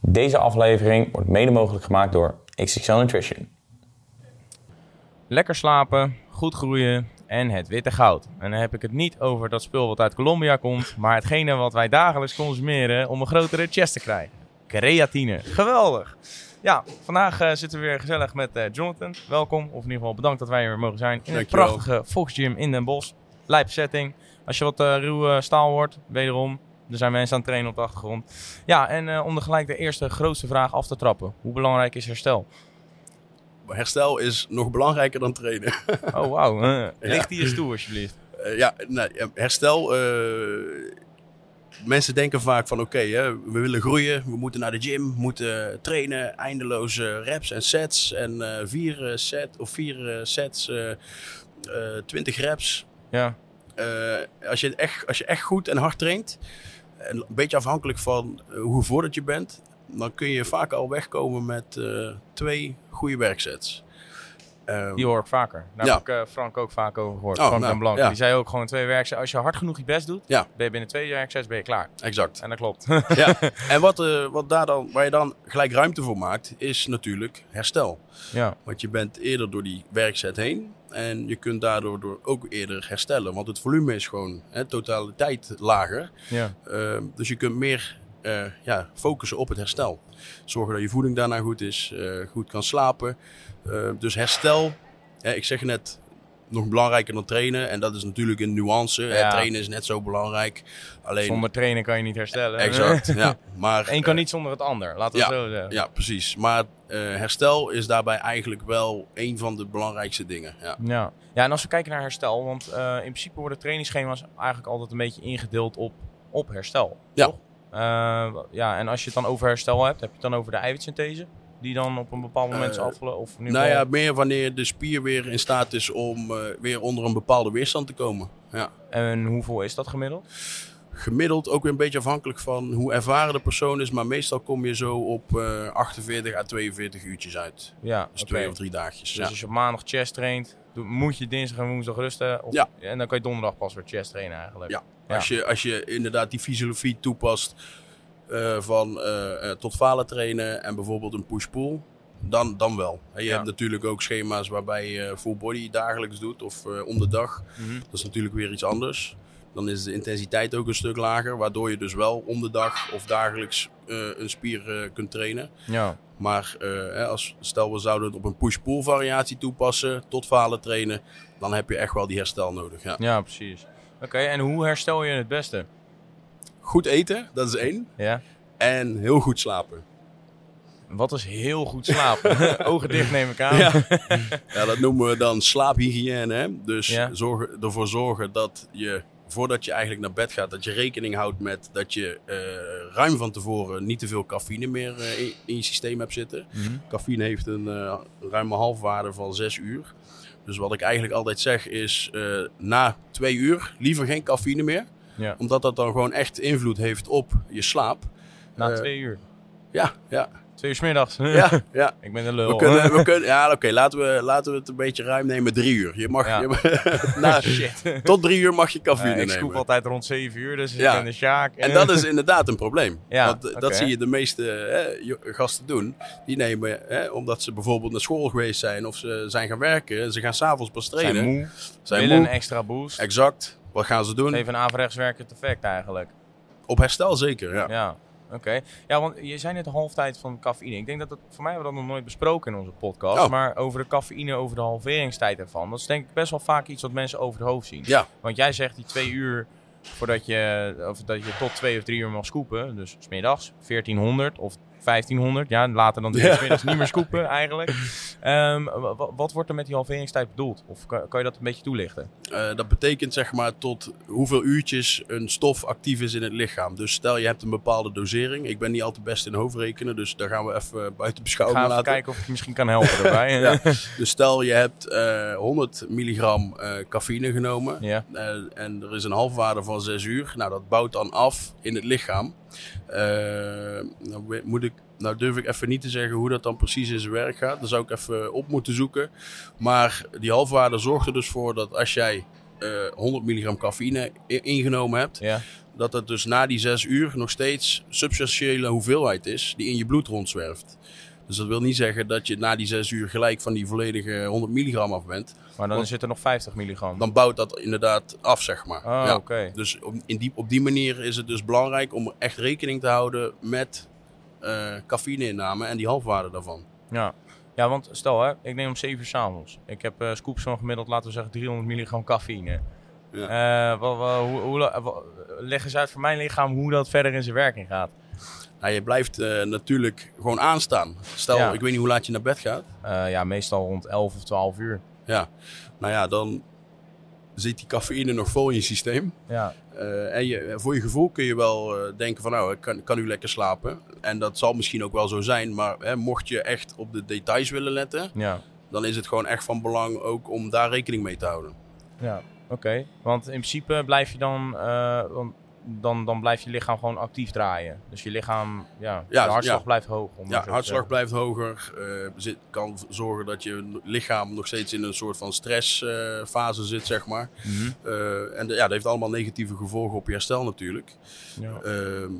Deze aflevering wordt mede mogelijk gemaakt door XXL Nutrition. Lekker slapen, goed groeien en het witte goud. En dan heb ik het niet over dat spul wat uit Colombia komt, maar hetgene wat wij dagelijks consumeren om een grotere chest te krijgen. Creatine, geweldig! Ja, vandaag eh, zitten we weer gezellig met eh, Jonathan. Welkom, of in ieder geval bedankt dat wij hier mogen zijn in het Dankjewel. prachtige Fox Gym in Den Bosch. Lijp setting. Als je wat eh, ruwe staal hoort, wederom, er zijn mensen aan het trainen op de achtergrond. Ja, en eh, om de gelijk de eerste grootste vraag af te trappen. Hoe belangrijk is herstel? Herstel is nog belangrijker dan trainen. Oh, wauw. eh, licht die eens toe, alsjeblieft. Eh, ja, nee, eh, herstel. eh, mensen denken vaak van oké, hè, we willen groeien, we moeten naar de gym, we moeten trainen, eindeloze reps en sets en eh, vier eh, set of vier eh, sets, eh twintig reps. Ja, Eh, als, je echt, als je echt goed en hard traint, en een beetje afhankelijk van eh, hoe voordat je bent, dan kun je vaak al wegkomen met eh, twee goede werksets. Ehm, die hoor ik vaker. Daar Ja. heb ik eh, Frank ook vaak over gehoord. Oh, Frank nou, en Blank. ja. Die zei ook gewoon twee werkzijden. Als je hard genoeg je best doet, Ja. ben je binnen twee werkzijden ben je klaar. exact. En dat klopt. Ja, en wat, eh, wat daar dan, waar je dan gelijk ruimte voor maakt, is natuurlijk herstel. ja. Want je bent eerder door die werkzet heen en je kunt daardoor door ook eerder herstellen. Want het volume is gewoon hè, totaliteit lager. ja. Ehm, dus je kunt meer eh, ja, focussen op het herstel. Zorgen dat je voeding daarna goed is, eh, goed kan slapen. Eh, dus herstel, hè, ik zeg net, nog belangrijker dan trainen. En dat is natuurlijk een nuance. hè. Ja. Trainen is net zo belangrijk. Alleen, Zonder trainen kan je niet herstellen. Exact, ja. Maar, Eén kan niet zonder het ander. Laten we het zo zeggen. ja, precies. Maar eh, herstel is daarbij eigenlijk wel een van de belangrijkste dingen. Ja. Ja. ja, en als we kijken naar herstel, want eh, in principe worden trainingsschema's eigenlijk altijd een beetje ingedeeld op, op herstel. Ja. toch? Eh, w- ja, en als je het dan over herstel hebt, heb je het dan over de eiwitsynthese? Die dan op een bepaald moment is Eh, afgelopen? Of nu Nou ja, meer wanneer de spier weer in staat is om eh, weer onder een bepaalde weerstand te komen. Ja. En hoeveel is dat gemiddeld? Gemiddeld ook weer een beetje afhankelijk van hoe ervaren de persoon is. Maar meestal kom je zo op eh, 48 à 42 uurtjes uit. Ja, Dus oké. twee of drie daagjes. Dus Ja. als je op maandag chest traint, doe- moet je dinsdag en woensdag rusten. Of, Ja. En dan kan je donderdag pas weer chest trainen eigenlijk. Ja. Als, je, als je inderdaad die fysiologie toepast eh, van eh, eh, tot falen trainen en bijvoorbeeld een push-pull, dan, dan wel. En je Ja. hebt natuurlijk ook schema's waarbij je full body dagelijks doet of eh, om de dag. Mhm. Dat is natuurlijk weer iets anders. Dan is de intensiteit ook een stuk lager, waardoor je dus wel om de dag of dagelijks eh, een spier eh, kunt trainen. ja. Maar eh, hè, als, stel we zouden het op een push-pull variatie toepassen, tot falen trainen, dan heb je echt wel die herstel nodig. Ja. Ja, precies. Oké, en hoe herstel je het beste? Goed eten, dat is één. Ja. En heel goed slapen. Wat is heel goed slapen? Ogen dicht neem ik aan. Ja. Ja, dat noemen we dan slaaphygiëne. Hè? Dus Ja. zorgen, ervoor zorgen dat je, voordat je eigenlijk naar bed gaat, dat je rekening houdt met dat je eh, ruim van tevoren niet te veel cafeïne meer eh, in, in je systeem hebt zitten. Mhm. Cafeïne heeft een eh, ruime halfwaarde van 6 uur. Dus wat ik eigenlijk altijd zeg is, eh, na twee uur liever geen cafeïne meer. Ja. Omdat dat dan gewoon echt invloed heeft op je slaap. Na Eh, twee uur. Ja, ja, Twee uur 's middags. ja, ja. Ik ben een lul. We kunnen, we kunnen, ja, oké, laten, we, laten we het een beetje ruim nemen. Drie uur. Je mag, Ja. je mag- na- Shit. tot drie uur mag je Ja, cafeïne Eh, ik scoop nemen. altijd rond 7 uur, dus Ja. ik ben de Sjaak. En dat is inderdaad een probleem. Ja, Want eh, oké. dat zie je de meeste eh, jo- gasten doen. Die nemen, eh, omdat ze bijvoorbeeld naar school geweest zijn of ze zijn gaan werken. Ze gaan s'avonds pas trainen. zijn moe, Zijn willen moe. een extra boost. Exact. Wat gaan ze doen? Even een averechts werkend effect eigenlijk. Op herstel zeker, ja. Ja, oké. Ja, want je zei net de halftijd van cafeïne. Ik denk dat dat, voor mij hebben we dat nog nooit besproken in onze podcast. Oh. Maar over de cafeïne, over de halveringstijd ervan. Dat is denk ik best wel vaak iets wat mensen over het hoofd zien. Ja. Want jij zegt die twee uur voordat je, of dat je tot twee of drie uur mag scoopen. Dus smiddags 1400 of 1500. Ja, later dan Ja. dus middags niet meer scoopen eigenlijk. Ehm, wa- wa- wat wordt er met die halveringstijd bedoeld? Of kan, kan je dat een beetje toelichten? Eh, dat betekent zeg maar tot hoeveel uurtjes een stof actief is in het lichaam. Dus stel je hebt een bepaalde dosering. Ik ben niet altijd best in hoofdrekenen, dus daar gaan we even eh, buiten Ik beschouwing ga even laten. kijken of ik je misschien kan helpen daarbij. Ja. Dus stel je hebt eh, 100 milligram eh, cafeïne genomen. ja. Eh, en er is een halfwaarde van 6 uur. Nou, dat bouwt dan af in het lichaam. Eh, nou, we- moet ik, nou durf ik even niet te zeggen hoe dat dan precies in zijn werk gaat. Daar zou ik even op moeten zoeken. Maar die halfwaarde zorgt er dus voor dat als jij eh, 100 milligram cafeïne i- ingenomen hebt, Ja. dat het dus na die zes uur nog steeds substantiële hoeveelheid is die in je bloed rondzwerft. Dus dat wil niet zeggen dat je na die zes uur gelijk van die volledige 100 milligram af bent. Maar dan Want- zit er nog 50 milligram. Dan bouwt dat inderdaad af, zeg maar. Ah, Ja. oké. Dus op, in die, op die manier is het dus belangrijk om echt rekening te houden met eh cafeïneinname en die halfwaarde daarvan. Ja. ja, want stel hè, ik neem om 7 uur s'avonds. Ik heb eh, scoops van gemiddeld, laten we zeggen, 300 milligram cafeïne. Ja. Eh, wa- wa- hoe, hoe, la- wa- leg eens uit voor mijn lichaam hoe dat verder in zijn werking gaat. Nou, je blijft eh, natuurlijk gewoon aanstaan. Stel, Ja. ik weet niet hoe laat je naar bed gaat. Eh, ja, meestal rond 11 of 12 uur. Ja. Nou ja, dan zit die cafeïne nog vol in je systeem. Ja, Eh, en je, voor je gevoel kun je wel eh, denken van nou, ik kan, kan nu lekker slapen. En dat zal misschien ook wel zo zijn. Maar hè, mocht je echt op de details willen letten, ja, dan is het gewoon echt van belang ook om daar rekening mee te houden. ja. Oké, want in principe blijf je dan, eh, want dan, dan blijft je lichaam gewoon actief draaien. Dus je lichaam, ja, Ja, de hartslag ja. blijft hoog. om het zo Ja, te hartslag zeggen. blijft hoger. eh, zit, kan v- zorgen dat je lichaam nog steeds in een soort van stressfase eh, zit, zeg maar. Mhm. Eh, en de- ja, dat heeft allemaal negatieve gevolgen op je herstel natuurlijk. Ja. Ehm,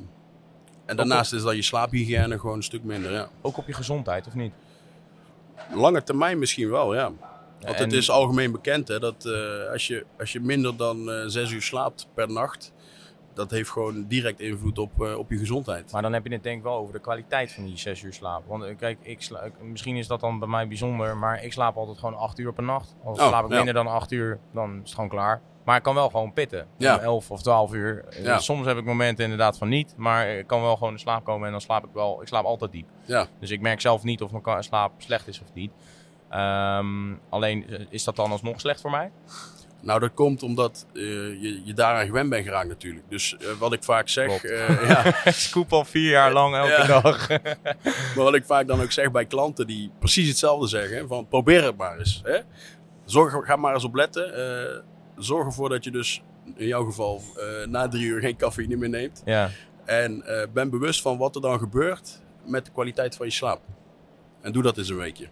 en daarnaast is dan je slaaphygiëne gewoon een stuk minder. Ja. Ook op je gezondheid, of niet? Lange termijn misschien wel, ja. Want het En- is algemeen bekend hè, dat eh, als, je, als je minder dan eh zes uur slaapt per nacht, dat heeft gewoon direct invloed op, eh, op je gezondheid. Maar dan heb je het denk ik wel over de kwaliteit van die zes uur slaap. Want eh, kijk, ik sla, ik- misschien is dat dan bij mij bijzonder, maar ik slaap altijd gewoon acht uur per nacht. Als Oh, slaap ik ja. minder dan acht uur, dan is het gewoon klaar. Maar ik kan wel gewoon pitten. Ja. Om elf of twaalf uur. Eh, Ja. Soms heb ik momenten inderdaad van niet, maar ik kan wel gewoon in slaap komen en dan slaap ik wel. Ik slaap altijd diep. Ja. Dus ik merk zelf niet of mijn ka- slaap slecht is of niet. Ehm, alleen eh, is dat dan alsnog slecht voor mij? Nou, dat komt omdat eh, je, je daaraan gewend bent geraakt natuurlijk. Dus eh, wat ik vaak zeg, Klopt. eh, ja, Scoop al vier jaar lang elke Ja. dag. Maar wat ik vaak dan ook zeg bij klanten die precies hetzelfde zeggen: van probeer het maar eens. Hè? Zorg, ga maar eens op letten. eh, zorg ervoor dat je dus in jouw geval eh, na drie uur geen cafeïne meer neemt. ja. En eh, ben bewust van wat er dan gebeurt met de kwaliteit van je slaap. En doe dat eens een weekje.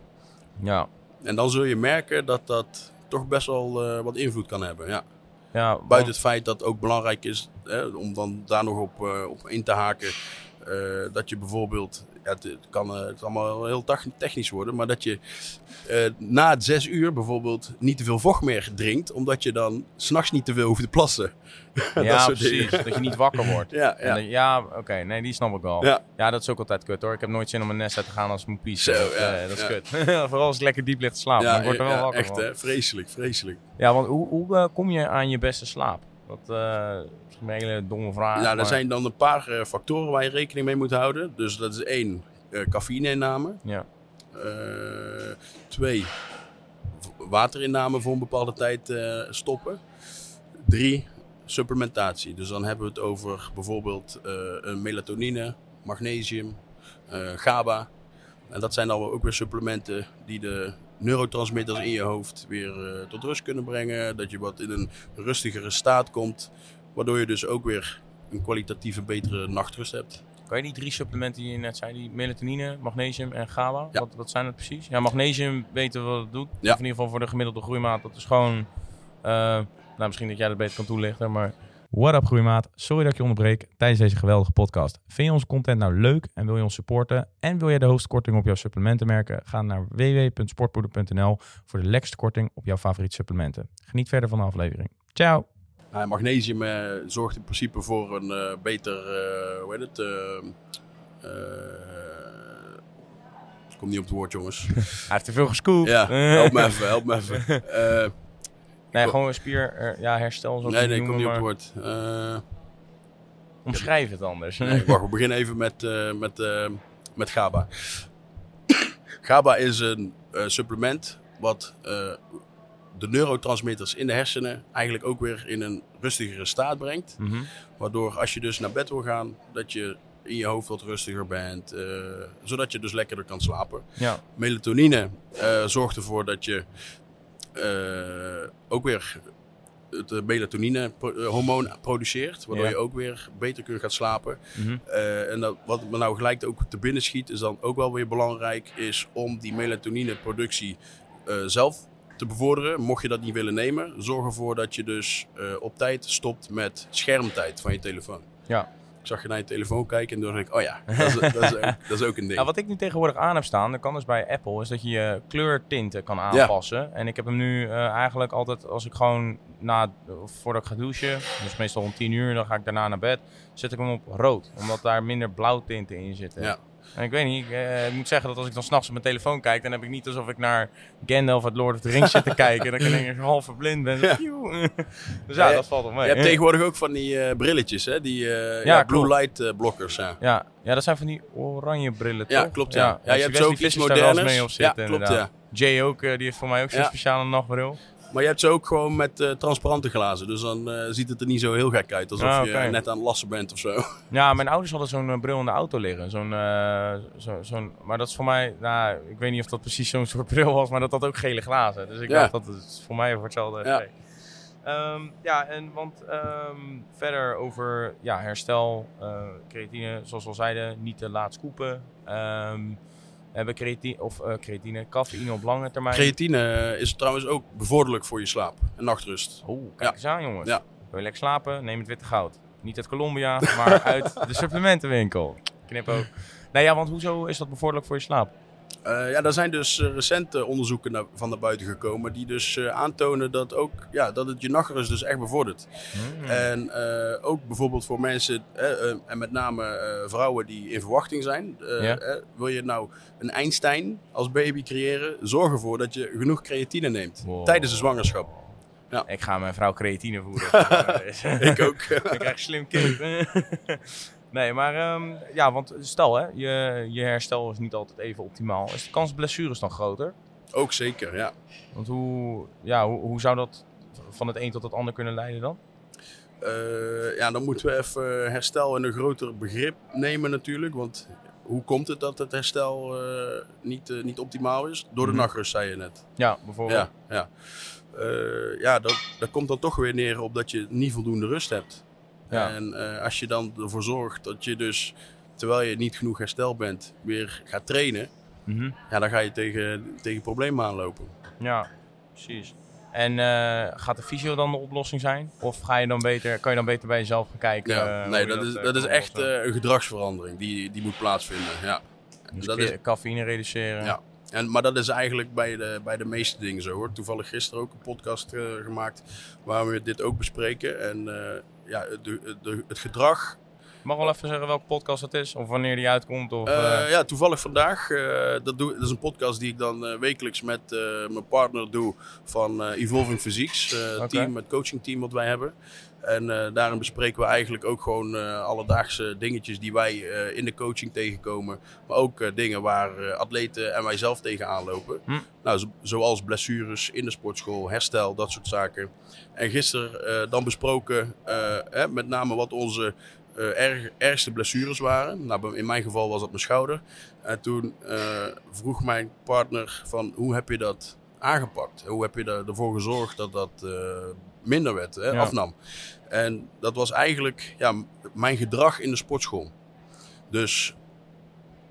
ja. En dan zul je merken dat dat toch best wel eh, wat invloed kan hebben. Ja. Ja, want- Buiten het feit dat het ook belangrijk is hè, om dan daar nog op, eh, op in te haken. eh, dat je bijvoorbeeld, ja, het, het kan eh, het kan allemaal heel tach- technisch worden, maar dat je eh, na het zes uur bijvoorbeeld niet te veel vocht meer drinkt, omdat je dan s'nachts niet te veel hoeft te plassen. Ja, soort dingen. precies. Dat je niet wakker wordt. Ja, En ja. dat- ja oké. Nee, die snap ik wel. Ja. dat is ook altijd kut hoor. Ik heb nooit zin om een nest uit te gaan als ik moet piezen. Zo, dat, eh, ja, dat is ja. kut. Vooral als ik lekker diep ligt te slapen. Ja, maar ik word er wel ja, wakker echt van. hè, vreselijk, vreselijk. Ja, want hoe, hoe eh, kom je aan je beste slaap? Dat eh, is misschien een hele domme vraag. nou, er maar- zijn dan een paar eh, factoren waar je rekening mee moet houden. Dus dat is één, eh cafeïneinname. Ja. Eh, twee, v- waterinname voor een bepaalde tijd eh, stoppen. Drie, supplementatie. Dus dan hebben we het over bijvoorbeeld eh, een melatonine, magnesium, eh, GABA. En dat zijn dan wel ook weer supplementen die de neurotransmitters in je hoofd weer eh, tot rust kunnen brengen. Dat je wat in een rustigere staat komt. Waardoor je dus ook weer een kwalitatieve betere nachtrust hebt. Kan je die drie supplementen die je net zei, die melatonine, magnesium en GABA, Ja. wat, wat zijn dat precies? Ja, magnesium weten we wat het doet. Of Ja. in ieder geval voor de gemiddelde groeimaat. Dat is gewoon, eh, nou misschien dat jij dat beter kan toelichten, maar... What up groeimaat, sorry dat ik je onderbreek tijdens deze geweldige podcast. Vind je onze content nou leuk en wil je ons supporten? En wil je de hoogste korting op jouw supplementenmerken? Ga naar www.sportpoeder.nl voor de lekkerste korting op jouw favoriete supplementen. Geniet verder van de aflevering. Ciao! Nou, magnesium eh, zorgt in principe voor een eh, beter, eh, hoe heet het? eh, eh, ik kom niet op het woord, jongens. Hij heeft te veel gescoopt. Ja, help me even, help me even. Eh, Nee, gewoon een spier, eh, ja, herstel. Zo nee, nee, ik kom niet op maar... het woord. Eh, Omschrijf het anders. nee, wacht, we beginnen even met, eh, met, eh, met GABA. GABA is een eh, supplement wat eh, de neurotransmitters in de hersenen eigenlijk ook weer in een rustigere staat brengt. Mhm. Waardoor als je dus naar bed wil gaan, dat je in je hoofd wat rustiger bent. eh, zodat je dus lekkerder kan slapen. Ja, Melatonine eh, zorgt ervoor dat je eh, ook weer het eh, melatonine pro- eh, hormoon produceert. Waardoor Ja. je ook weer beter kunt gaan slapen. Mhm. Eh, en dat, wat me nou gelijk ook te binnen schiet, is dan ook wel weer belangrijk. Is om die melatonineproductie eh, zelf te bevorderen. Mocht je dat niet willen nemen, zorg ervoor dat je dus eh, op tijd stopt met schermtijd van je telefoon. Ja. Ik zag je naar je telefoon kijken en toen dacht ik, oh ja, dat is, dat is, ook, dat is ook een ding. Nou, wat ik nu tegenwoordig aan heb staan, dat kan dus bij Apple, is dat je je kleurtinten kan aanpassen. En ik heb hem nu eh, eigenlijk altijd, als ik gewoon na, voordat ik ga douchen, dus meestal om 10 uur, dan ga ik daarna naar bed, zet ik hem op rood. Omdat daar minder blauwtinten in zitten. Ja. En ik weet niet, ik, eh, ik moet zeggen dat als ik dan s'nachts op mijn telefoon kijk, dan heb ik niet alsof ik naar Gandalf uit Lord of the Rings zit te kijken. Dat ik ineens half verblind ben. Zo, Ja. "Joe." Dus ja, Ja, dat valt wel mee. Je hebt tegenwoordig ook van die eh, brilletjes, hè? die eh, Ja, ja, blue klopt. light eh, blokkers. Ja. Ja, ja, dat zijn van die oranje brillen, Ja, toch? klopt, ja. Ja, je dus hebt die zo ook Wesley iets Fish daar wel eens moderners. mee op Ja, zitten, klopt, inderdaad. Jay ook, eh, die heeft voor mij ook zo'n Ja. speciale nachtbril. Maar je hebt ze ook gewoon met eh, transparante glazen, dus dan eh, ziet het er niet zo heel gek uit. Alsof Ah, je oké. net aan het lassen bent of zo. Ja, mijn ouders hadden zo'n eh, bril in de auto liggen. Zo'n, eh, zo, zo'n, maar dat is voor mij, nou, ik weet niet of dat precies zo'n soort bril was, maar dat had ook gele glazen. Dus ik Ja. dacht, dat is voor mij voor hetzelfde Ja. effect. Ehm, ja, en want ehm, verder over ja, herstel, eh, creatine, zoals we al zeiden, niet te laat scoopen. Ehm, hebben creatine, of eh, creatine, cafeïne op lange termijn. Creatine eh, is trouwens ook bevorderlijk voor je slaap en nachtrust. Oh, kijk Ja. eens aan, jongens. Ja. Wil je lekker slapen? Neem het witte goud. Niet uit Colombia, maar uit de supplementenwinkel. Knip ook. Nou ja, want hoezo is dat bevorderlijk voor je slaap? Eh, ja, daar zijn dus eh, recente onderzoeken naar- van naar buiten gekomen die dus eh, aantonen dat, ook, ja, dat het je nachtrust dus echt bevordert. Hmm. En eh, ook bijvoorbeeld voor mensen, eh, eh, en met name eh, vrouwen die in verwachting zijn. eh, Ja. eh, wil je nou een Einstein als baby creëren, zorg ervoor dat je genoeg creatine neemt Wow. tijdens de zwangerschap. Ja. Ik ga mijn vrouw creatine voeren. Ik ook. Ik krijg een slim kind. nee, maar ehm, ja, want stel hè, je, je herstel is niet altijd even optimaal. Is de kans op blessures dan groter? ook zeker, ja. Want hoe, ja, hoe, hoe zou dat van het een tot het ander kunnen leiden dan? Eh, ja, dan moeten we even herstel in een groter begrip nemen natuurlijk. Want hoe komt het dat het herstel eh, niet, eh, niet optimaal is? Door de Mhm. Oh. nachtrust, zei je net. Ja, bijvoorbeeld. Ja, ja. Eh, ja dat, dat komt dan toch weer neer op dat je niet voldoende rust hebt. Ja. En eh, als je dan ervoor zorgt dat je dus, terwijl je niet genoeg hersteld bent, weer gaat trainen. Mhm. Ja, dan ga je tegen, tegen problemen aanlopen. Ja, precies. En eh, gaat de fysio dan de oplossing zijn? Of ga je dan beter, kan je dan beter bij jezelf gaan kijken? Ja, eh, nee, hoe je dat, is, eh, dat is kan echt oplossen? eh, een gedragsverandering die, die moet plaatsvinden. Ja. Dus dat ke- is, cafeïne reduceren. Ja. En, maar dat is eigenlijk bij de, bij de meeste dingen zo hoor. Toevallig gisteren ook een podcast eh, gemaakt waar we dit ook bespreken. En eh, ja, de, de, het gedrag Mag wel even zeggen welke podcast het is? Of wanneer die uitkomt? Of, Eh, eh, ja, toevallig vandaag. eh, dat, doe, dat is een podcast die ik dan eh, wekelijks met eh, mijn partner doe van eh, Evolving Physiques. eh, Oké. team, het coachingteam wat wij hebben. En eh, daarin bespreken we eigenlijk ook gewoon eh, alledaagse dingetjes die wij eh, in de coaching tegenkomen. Maar ook eh, dingen waar eh, atleten en wij zelf tegenaan lopen. Hm. Nou, zo- zoals blessures in de sportschool, herstel, dat soort zaken. En gisteren eh, dan besproken eh, hè, met name wat onze eh, erg, ergste blessures waren. Nou, in mijn geval was dat mijn schouder. En toen eh, vroeg mijn partner van hoe heb je dat aangepakt? Hoe heb je er- ervoor gezorgd dat dat eh, minder werd, hè, Ja. afnam? En dat was eigenlijk ja, m- mijn gedrag in de sportschool. Dus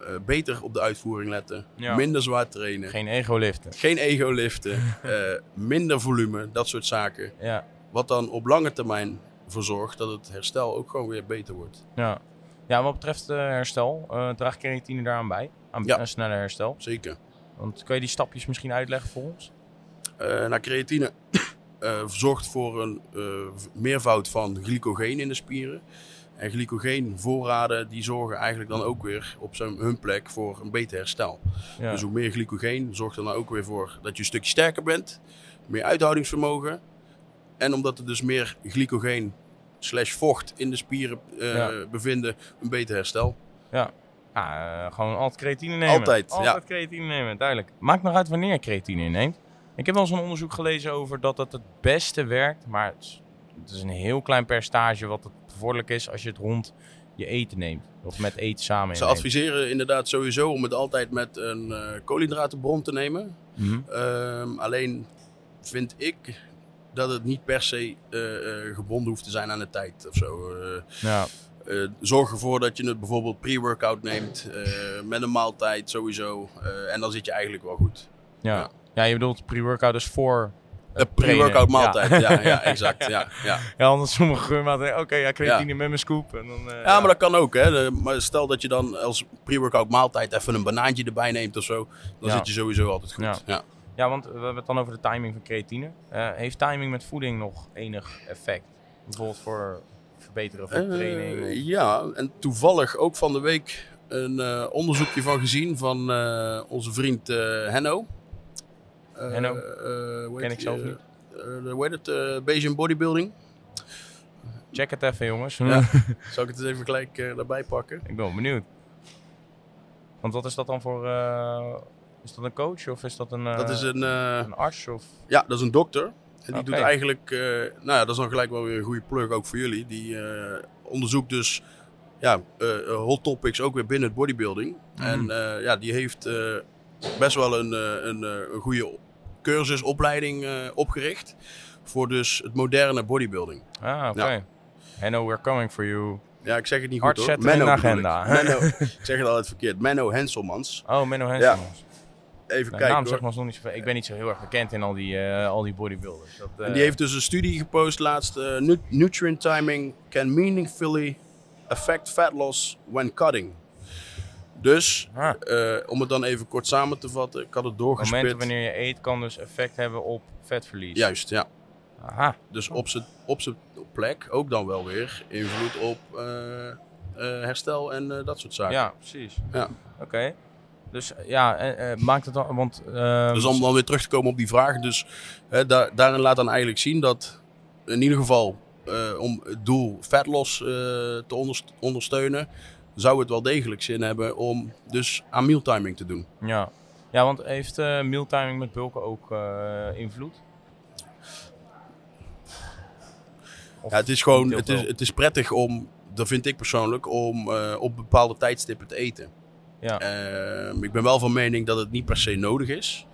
eh, beter op de uitvoering letten, Ja. minder zwaar trainen, Geen ego-liften. geen ego liften, eh, minder volume, dat soort zaken. Ja, Wat dan op lange termijn voor zorgt dat het herstel ook gewoon weer beter wordt. ja. ja, wat betreft eh, herstel, eh draag creatine daaraan bij. Aan Ja. een sneller herstel. Zeker. Want kun je die stapjes misschien uitleggen voor ons? Eh nou, creatine eh, zorgt voor een eh, v- meervoud van glycogeen in de spieren. En glycogeenvoorraden die zorgen eigenlijk dan ook weer op zijn, hun plek voor een beter herstel. Ja. Dus hoe meer glycogeen zorgt er dan ook weer voor dat je een stukje sterker bent, meer uithoudingsvermogen. En omdat er dus meer glycogeen slash vocht in de spieren eh, Ja. bevinden, een beter herstel. Ja, eh, gewoon altijd creatine nemen. Altijd, Altijd creatine nemen, duidelijk. Maakt nog uit wanneer je creatine inneemt. Ik heb wel eens een onderzoek gelezen over dat het het beste werkt. Maar het is, het is een heel klein percentage wat het bevorderlijk is als je het rond je eten neemt. Of met eten samen Ze inneemt. adviseren inderdaad sowieso om het altijd met een eh, koolhydratenbron te nemen. Mhm. Ehm, alleen vind ik dat het niet per se eh, eh, gebonden hoeft te zijn aan de tijd of zo. Eh, Ja, eh, zorg ervoor dat je het bijvoorbeeld pre-workout neemt eh, met een maaltijd sowieso. Eh, en dan zit je eigenlijk wel goed. ja. ja. Ja. Ja, je bedoelt pre-workout dus voor... Eh, Pre-workout trainen. maaltijd. Ja, ja, exact. Ja, ja. Ja, anders sommige geurmaten. Oké, ja, creatine Ja. met mijn scoop. En dan, eh, ja, maar dat kan ook. Hè. De- maar stel dat je dan als pre-workout maaltijd even een banaantje erbij neemt of zo. Dan Ja. zit je sowieso altijd goed. Ja. Ja. Ja, want we hebben het dan over de timing van creatine. Eh, heeft timing met voeding nog enig effect? Bijvoorbeeld voor verbeteren van Eh, training? of- ja, en toevallig ook van de week een eh, onderzoekje van gezien van eh, onze vriend eh, Henno. Eh, Henno? eh, hoe Ken heet ik die, zelf eh, niet. eh, hoe heet het? eh Bayesian Bodybuilding. Check het even, jongens. Ja. Zal ik het eens even gelijk eh daarbij pakken? ik ben benieuwd. Want wat is dat dan voor... eh, is dat een coach of is dat een, eh, dat is een, eh, een arts? Of... ja, dat is een dokter. En die Oké. doet eigenlijk, eh, nou ja, dat is dan gelijk wel weer een goede plug ook voor jullie. Die eh, onderzoekt dus ja, eh, eh, hot topics ook weer binnen het bodybuilding. Mhm. En eh, ja, die heeft eh, best wel een, eh, een, eh, een goede cursusopleiding eh, opgericht. Voor dus het moderne bodybuilding. Ah, oké. Hello, we're coming for you. Ja, ik zeg het niet goed Arts hoor. zetten in de bedoel ik. agenda. Menno, ik zeg het altijd verkeerd. Menno Henselmans. Oh, Menno Hansen. Even De kijken naam hoor. zegt me nog niet zoveel. Ik ben niet zo heel erg bekend in al die, eh, al die bodybuilders. Dat, eh, En die heeft dus een studie gepost laatst. eh, nu- nutrient timing can meaningfully affect fat loss when cutting. Dus, Ah. eh, om het dan even kort samen te vatten, ik had het het doorgespit. moment wanneer je eet kan dus effect hebben op vetverlies. Juist, ja. Aha. Dus op zijn op z'n plek ook dan wel weer invloed op eh, eh, herstel en eh, dat soort zaken. Ja, precies. Ja. Oké. Dus ja, eh, eh, maakt het dan... Want, ehm, Dus om dan weer terug te komen op die vraag. Dus hè, da- daarin laat dan eigenlijk zien dat in ieder geval eh, om het doel vetloss eh, te onderst- ondersteunen, zou het wel degelijk zin hebben om dus aan mealtiming te doen. ja. ja, want heeft eh mealtiming met bulken ook eh, invloed? Of Ja, het is gewoon, niet heel het is, veel? het is prettig om, dat vind ik persoonlijk, om eh, op bepaalde tijdstippen te eten. Ja. Ehm, ik ben wel van mening dat het niet per se nodig is.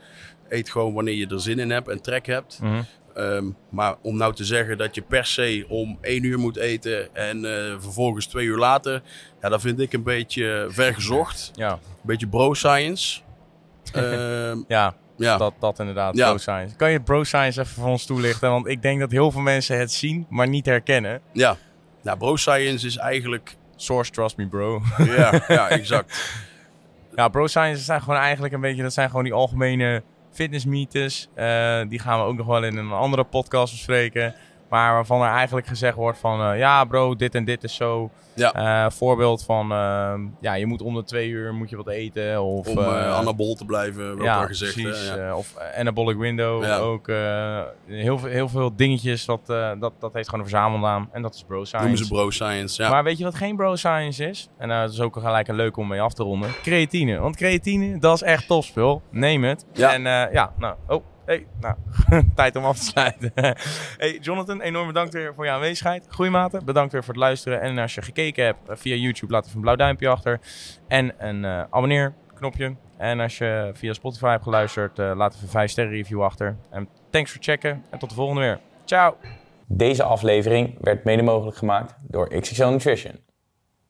Eet gewoon wanneer je er zin in hebt en trek hebt. Mhm. Ehm, maar om nou te zeggen dat je per se om één uur moet eten en eh, vervolgens twee uur later, ja, dat vind ik een beetje vergezocht. ja. Een beetje bro-science. Ehm, ja, ja. Dat, dat inderdaad, Ja. bro science. Kan je bro science even voor ons toelichten? Want ik denk dat heel veel mensen het zien, maar niet herkennen. ja. Nou, bro-science is eigenlijk. Source, trust me bro. Ja, ja exact. Ja, bro science zijn gewoon eigenlijk een beetje, dat zijn gewoon die algemene fitnessmythes. Eh, die gaan we ook nog wel in een andere podcast bespreken. Maar waarvan er eigenlijk gezegd wordt van, eh, ja bro, dit en dit is zo. Ja. Eh, voorbeeld van, ehm, ja, je moet om de twee uur moet je wat eten. Of, Om eh, eh anabol te blijven, wordt ja, al gezegd. hè. precies. ja. eh, of anabolic window Ja. ook. eh, heel, veel, heel veel dingetjes, dat, eh, dat, dat heeft gewoon een verzamelnaam. En dat is bro science. Noemen ze bro-science. Ja. Maar weet je wat geen bro science is? En nou, dat is ook gelijk een leuk om mee af te ronden. Creatine. Want creatine, dat is echt topspul. Neem het. Ja. En eh, ja, nou, oh, hey, nou, tijd om af te sluiten. hey, Jonathan, enorm bedankt weer voor je aanwezigheid. Goeiemate, bedankt weer voor het luisteren. En als je gekeken hebt eh, via YouTube, laat even een blauw duimpje achter. En een eh, abonneerknopje. En als je via Spotify hebt geluisterd, eh, laat even een 5 sterren review achter. En thanks voor het checken. En tot de volgende weer. Ciao. Deze aflevering werd mede mogelijk gemaakt door XXL Nutrition.